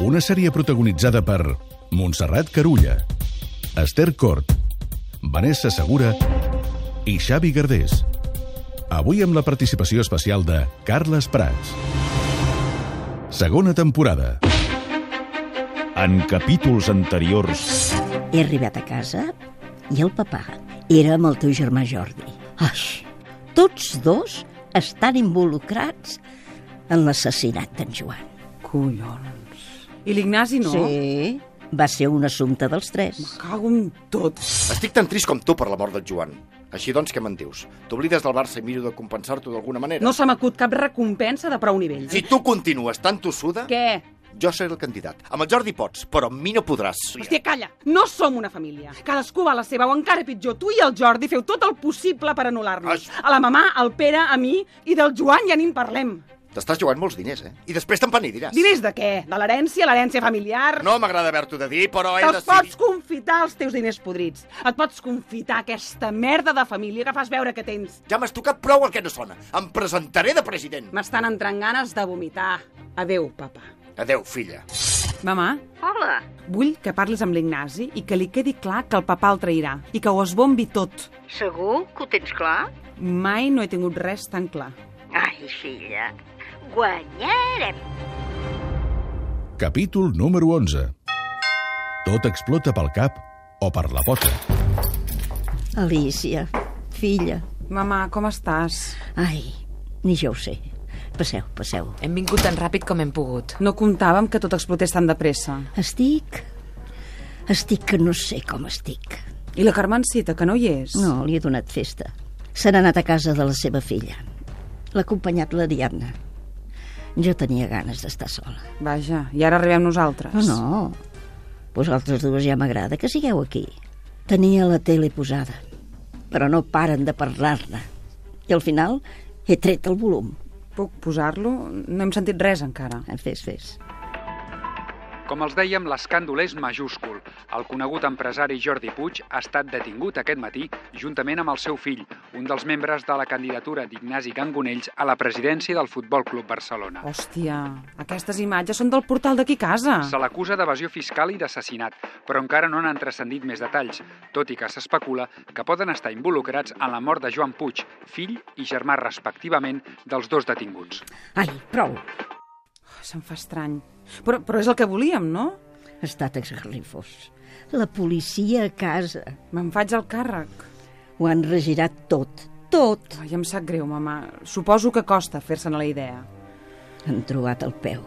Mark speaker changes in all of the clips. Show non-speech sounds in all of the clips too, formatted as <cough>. Speaker 1: Una sèrie protagonitzada per Montserrat Carulla, Esther Cort, Vanessa Segura i Xavi Gardés. Avui amb la participació especial de Carles Prats. Segona temporada.
Speaker 2: En capítols anteriors...
Speaker 3: He arribat a casa i el papà era amb el teu germà Jordi. Ai, tots dos estan involucrats en l'assassinat d'en Joan.
Speaker 4: Collons. I l'Ignasi no?
Speaker 3: Sí, va ser un assumpte dels tres.
Speaker 4: Cago en tot.
Speaker 5: Estic tan trist com tu per la mort del Joan. Així doncs, què me'n dius? T'oblides del Barça i miro de compensar-t'ho d'alguna manera?
Speaker 4: No se m'acut cap recompensa de prou nivell.
Speaker 5: Si tu continues tan tossuda,
Speaker 4: Què?
Speaker 5: jo seré el candidat. Amb el Jordi pots, però amb mi no podràs.
Speaker 4: Hòstia, calla! No som una família. Cadascú va a la seva o encara pitjor. Tu i el Jordi feu tot el possible per anul·lar-nos.
Speaker 5: Ai.
Speaker 4: A la mamà, al Pere, a mi i del Joan ja ni en parlem.
Speaker 5: T'estàs jugant molts diners, eh? I després t'empanidiràs.
Speaker 4: Diners de què? De l'herència, l'herència familiar...
Speaker 5: No m'agrada haver-t'ho de dir, però he
Speaker 4: Te'ls
Speaker 5: decidit...
Speaker 4: pots confitar els teus diners podrits. Et pots confitar aquesta merda de família que fas veure que tens.
Speaker 5: Ja m'has tocat prou el que no sona. Em presentaré de president.
Speaker 4: M'estan entrant ganes de vomitar. Adeu, papa.
Speaker 5: Adeu, filla.
Speaker 4: Mamà,
Speaker 6: Hola,
Speaker 4: Vull que parlis amb l'Ignasi i que li quedi clar que el papà el trairà i que ho esbombi tot.
Speaker 6: segur que ho tens clar?
Speaker 4: Mai no he tingut res tan clar.
Speaker 6: Ai, filla, guanyarem.
Speaker 1: Capítol número 11. Tot explota pel cap o per la pota.
Speaker 3: Alicia, filla,
Speaker 4: Mamà, com estàs?
Speaker 3: ai, ni jo ho sé. Passeu, passeu.
Speaker 7: Hem vingut tan ràpid com hem pogut.
Speaker 4: No comptàvem que tot explotés tan de pressa.
Speaker 3: Estic... Estic que no sé com estic.
Speaker 4: I la Carmencita, que no hi és?
Speaker 3: No, li he donat festa. Se n'ha anat a casa de la seva filla. L'ha acompanyat l'Ariadna. Jo tenia ganes d'estar sola.
Speaker 4: Vaja, i ara arribem nosaltres.
Speaker 3: No, no. Vosaltres dues ja m'agrada que sigueu aquí. Tenia la tele posada, però no paren de parlar-ne. I al final he tret el volum.
Speaker 4: Puc posar-lo? No hem sentit res encara.
Speaker 3: Eh, Fes, fes.
Speaker 8: Com els dèiem, l'escàndol és majúscul. El conegut empresari Jordi Puig ha estat detingut aquest matí juntament amb el seu fill, un dels membres de la candidatura d'Ignasi Gangonells a la presidència del Futbol Club Barcelona.
Speaker 4: Hòstia, aquestes imatges són del portal d'aquí a casa.
Speaker 8: Se l'acusa d'evasió fiscal i d'assassinat, però encara no n'han transcendit més detalls, tot i que s'especula que poden estar involucrats en la mort de Joan Puig, fill i germà respectivament dels dos detinguts.
Speaker 3: Ai, prou.
Speaker 4: Se'm fa estrany. Però, però és el que volíem, no?
Speaker 3: Ha estat esgarrifós. La policia a casa.
Speaker 4: Me'n faig el càrrec.
Speaker 3: Ho han regirat tot. Tot.
Speaker 4: Ai, em sap greu, mamà. Suposo que costa fer-se'n a la idea.
Speaker 3: Han trobat el peu.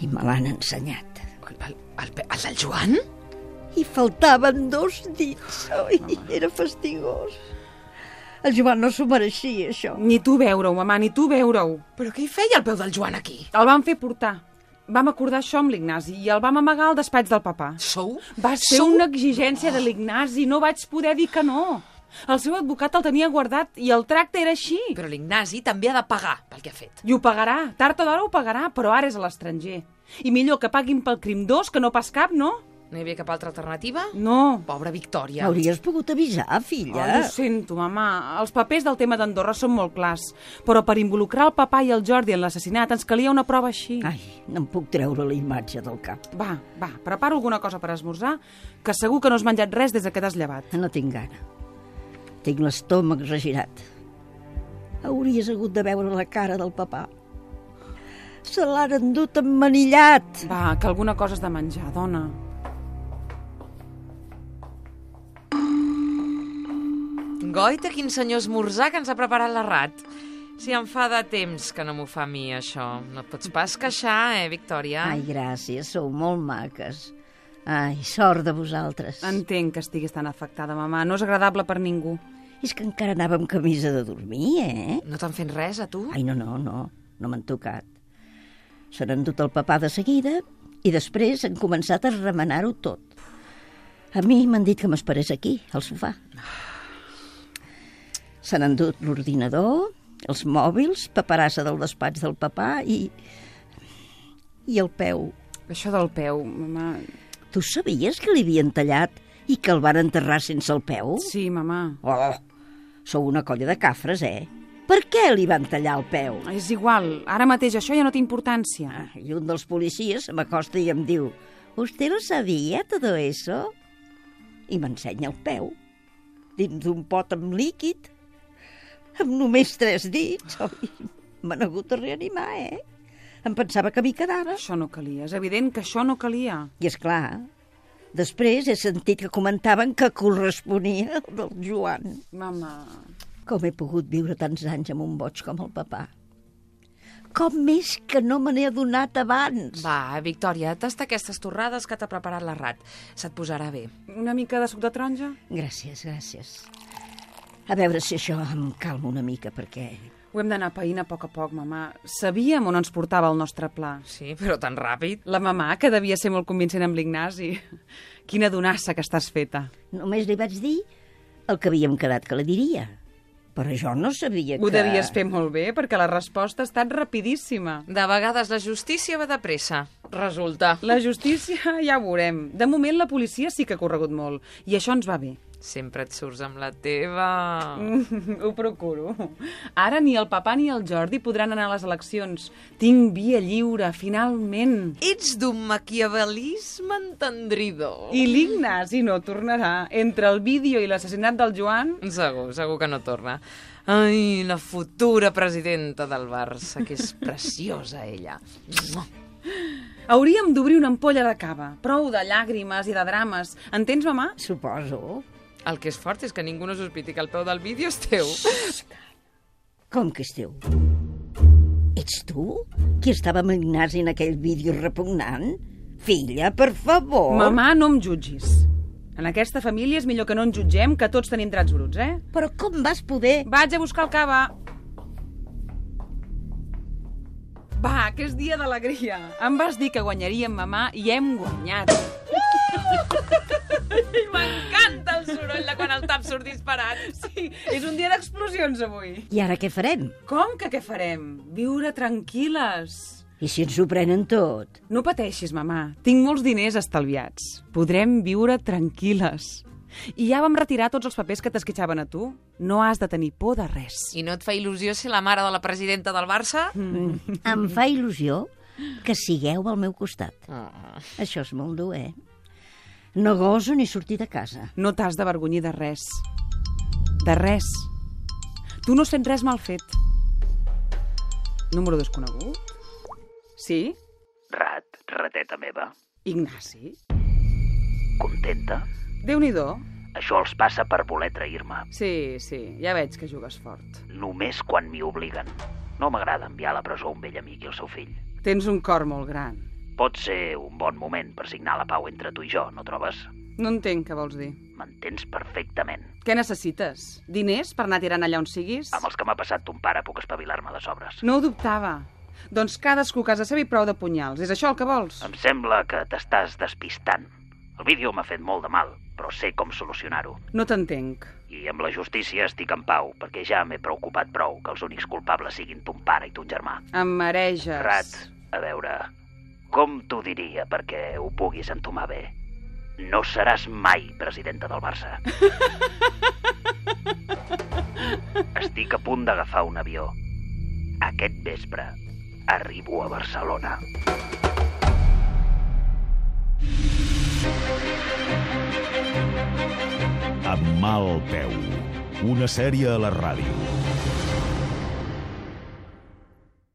Speaker 3: I me l'han ensenyat.
Speaker 7: El, el, el, el del Joan?
Speaker 3: i faltaven dos dits. Ai, era fastigós. El Joan no s'ho mereixia, això.
Speaker 4: Ni tu veure-ho, mamà, ni tu veure-ho.
Speaker 7: Però què hi feia el peu del Joan aquí?
Speaker 4: El vam fer portar. Vam acordar això amb l'Ignasi i el vam amagar al despatx del papà.
Speaker 7: Sou?
Speaker 4: Va ser una exigència de l'Ignasi, no vaig poder dir que no. El seu advocat el tenia guardat i el tracte era així.
Speaker 7: Però l'Ignasi també ha de pagar pel que ha fet.
Speaker 4: I ho pagarà, tard o d'hora ho pagarà, però ara és a l'estranger. I millor que paguin pel crim dos que no pas cap, no?
Speaker 7: No hi havia cap altra alternativa?
Speaker 4: No.
Speaker 7: Pobra Victòria.
Speaker 3: Hauries pogut avisar, filla.
Speaker 4: Oh, ho sento, mamà. Els papers del tema d'Andorra són molt clars, però per involucrar el papà i el Jordi en l'assassinat ens calia una prova així.
Speaker 3: Ai, no em puc treure la imatge del cap.
Speaker 4: Va, va, prepara alguna cosa per esmorzar, que segur que no has menjat res des que t'has llevat.
Speaker 3: No tinc gana. Tinc l'estómac regirat. Hauries hagut de veure la cara del papà. Se l'han endut emmanillat.
Speaker 4: Va, que alguna cosa has de menjar, dona.
Speaker 7: Goita, quin senyor esmorzar que ens ha preparat la rat. Si em fa de temps que no m'ho fa a mi, això. No et pots pas queixar, eh, Victòria?
Speaker 3: Ai, gràcies, sou molt maques. Ai, sort de vosaltres.
Speaker 4: Entenc que estiguis tan afectada, mamà. No és agradable per ningú.
Speaker 3: És que encara anava amb camisa de dormir, eh?
Speaker 7: No t'han fet res, a tu?
Speaker 3: Ai, no, no, no, no m'han tocat. Se n'han dut el papà de seguida I després han començat a remenar-ho tot. A mi m'han dit que m'esperés aquí, al sofà. Se n'han dut l'ordinador, els mòbils, paperassa del despatx del papà i... i el peu.
Speaker 4: Això del peu, mamà...
Speaker 3: Tu sabies que li havien tallat i que el van enterrar sense el peu?
Speaker 4: Sí, mamà.
Speaker 3: Oh, sou una colla de cafres, eh? Per què li van tallar el peu?
Speaker 4: És igual, ara mateix això ja no té importància.
Speaker 3: Ah, I un dels policies se m'acosta i em diu «Usted lo sabía todo eso?» I m'ensenya el peu, dins d'un pot amb líquid, amb només tres dits. Oi, m'han hagut de reanimar, eh? Em pensava que m'hi quedava.
Speaker 4: Això no calia, és evident que això no calia.
Speaker 3: I és clar, després he sentit que comentaven que corresponia al del Joan.
Speaker 4: Mama...
Speaker 3: Com he pogut viure tants anys amb un boig com el papà? Com més que no me n'he adonat abans?
Speaker 7: Va, Victòria, tasta aquestes torrades que t'ha preparat la rat. Se't posarà bé.
Speaker 4: Una mica de suc de taronja?
Speaker 3: Gràcies, gràcies. A veure si això em calma una mica, perquè...
Speaker 4: Ho hem d'anar païnt a poc a poc, mamà. Sabíem on ens portava el nostre pla.
Speaker 7: Sí, però tan ràpid.
Speaker 4: La mamà, que devia ser molt convincent amb l'Ignasi. Quina donassa que estàs feta.
Speaker 3: Només li vaig dir el que havíem quedat que la diria. Però jo no sabia que...
Speaker 4: Ho devies fer molt bé, perquè la resposta ha estat rapidíssima.
Speaker 7: De vegades la justícia va de pressa. Resulta.
Speaker 4: La justícia <laughs> ja ho veurem. De moment la policia sí que ha corregut molt, i això ens va bé. <laughs>
Speaker 7: Sempre et surts amb la teva...
Speaker 4: Ho procuro. Ara ni el papà ni el Jordi podran anar a les eleccions. Tinc via lliure, finalment.
Speaker 7: Ets d'un maquiavelisme entendridor.
Speaker 4: I l'Ignasi no tornarà. Entre el vídeo i l'assassinat del Joan...
Speaker 7: Segur, segur que no torna. Ai, la futura presidenta del Barça, que és preciosa ella. Mua.
Speaker 4: Hauríem d'obrir una ampolla de cava. Prou de llàgrimes i de drames. Entens, mamà?
Speaker 3: Suposo.
Speaker 7: El que és fort és que ningú no sospiti que el peu del vídeo és teu.
Speaker 3: Com que és teu? Ets tu? Qui estava amb l'Ignasi en aquell vídeo repugnant? Filla, per favor!
Speaker 4: Mamà, no em jutgis. En aquesta família és millor que no ens jutgem, que tots tenim drets bruts, eh?
Speaker 3: Però com vas poder...
Speaker 4: Vaig a buscar el cava. Va, que és dia d'alegria. Em vas dir que guanyaríem, mamà, i hem guanyat.
Speaker 7: <laughs> M'encanta el soroll de quan el tap surt disparat.
Speaker 4: Sí, és un dia d'explosions avui.
Speaker 3: I ara què farem?
Speaker 4: Com que què farem? Viure tranquil·les.
Speaker 3: I si ens ho prenen tot?
Speaker 4: No pateixis, mamà. Tinc molts diners estalviats. Podrem viure tranquil·les. I ja vam retirar tots els papers que t'esquitxaven a tu. No has de tenir por de res.
Speaker 7: I no et fa il·lusió ser la mare de la presidenta del Barça?
Speaker 3: Mm. <laughs> Em fa il·lusió que sigueu al meu costat.
Speaker 7: Ah.
Speaker 3: Això és molt dur, eh? No goso ni sortir de casa.
Speaker 4: No t'has d'avergonyir de res. De res. Tu no has fet res mal fet. Número desconegut? Sí?
Speaker 9: Rat, rateta meva,
Speaker 4: Ignasi?
Speaker 9: contenta?
Speaker 4: Déu-n'hi-do.
Speaker 9: Això els passa per voler trair-me.
Speaker 4: Sí, sí, ja veig que jugues fort.
Speaker 9: Només quan m'hi obliguen. No m'agrada enviar a la presó un vell amic i el seu fill.
Speaker 4: Tens un cor molt gran.
Speaker 9: Pot ser un bon moment per signar la pau entre tu i jo, no trobes?
Speaker 4: No entenc què vols dir.
Speaker 9: M'entens perfectament.
Speaker 4: Què necessites? Diners per anar tirant allà on siguis?
Speaker 9: Amb els que m'ha passat ton pare puc espavilar-me de sobres.
Speaker 4: No ho dubtava. Doncs cadascú a casa seva i prou de punyals. És això el que vols?
Speaker 9: Em sembla que t'estàs despistant. El vídeo m'ha fet molt de mal, però sé com solucionar-ho.
Speaker 4: No t'entenc.
Speaker 9: I amb la justícia estic en pau, perquè ja m'he preocupat prou que els únics culpables siguin ton pare i ton germà.
Speaker 4: Em mareges.
Speaker 9: Rat, a veure, com t'ho diria perquè ho puguis entomar bé? No seràs mai presidenta del Barça. Estic a punt d'agafar un avió. Aquest vespre arribo a Barcelona.
Speaker 2: Amb mal peu. Una sèrie a la ràdio.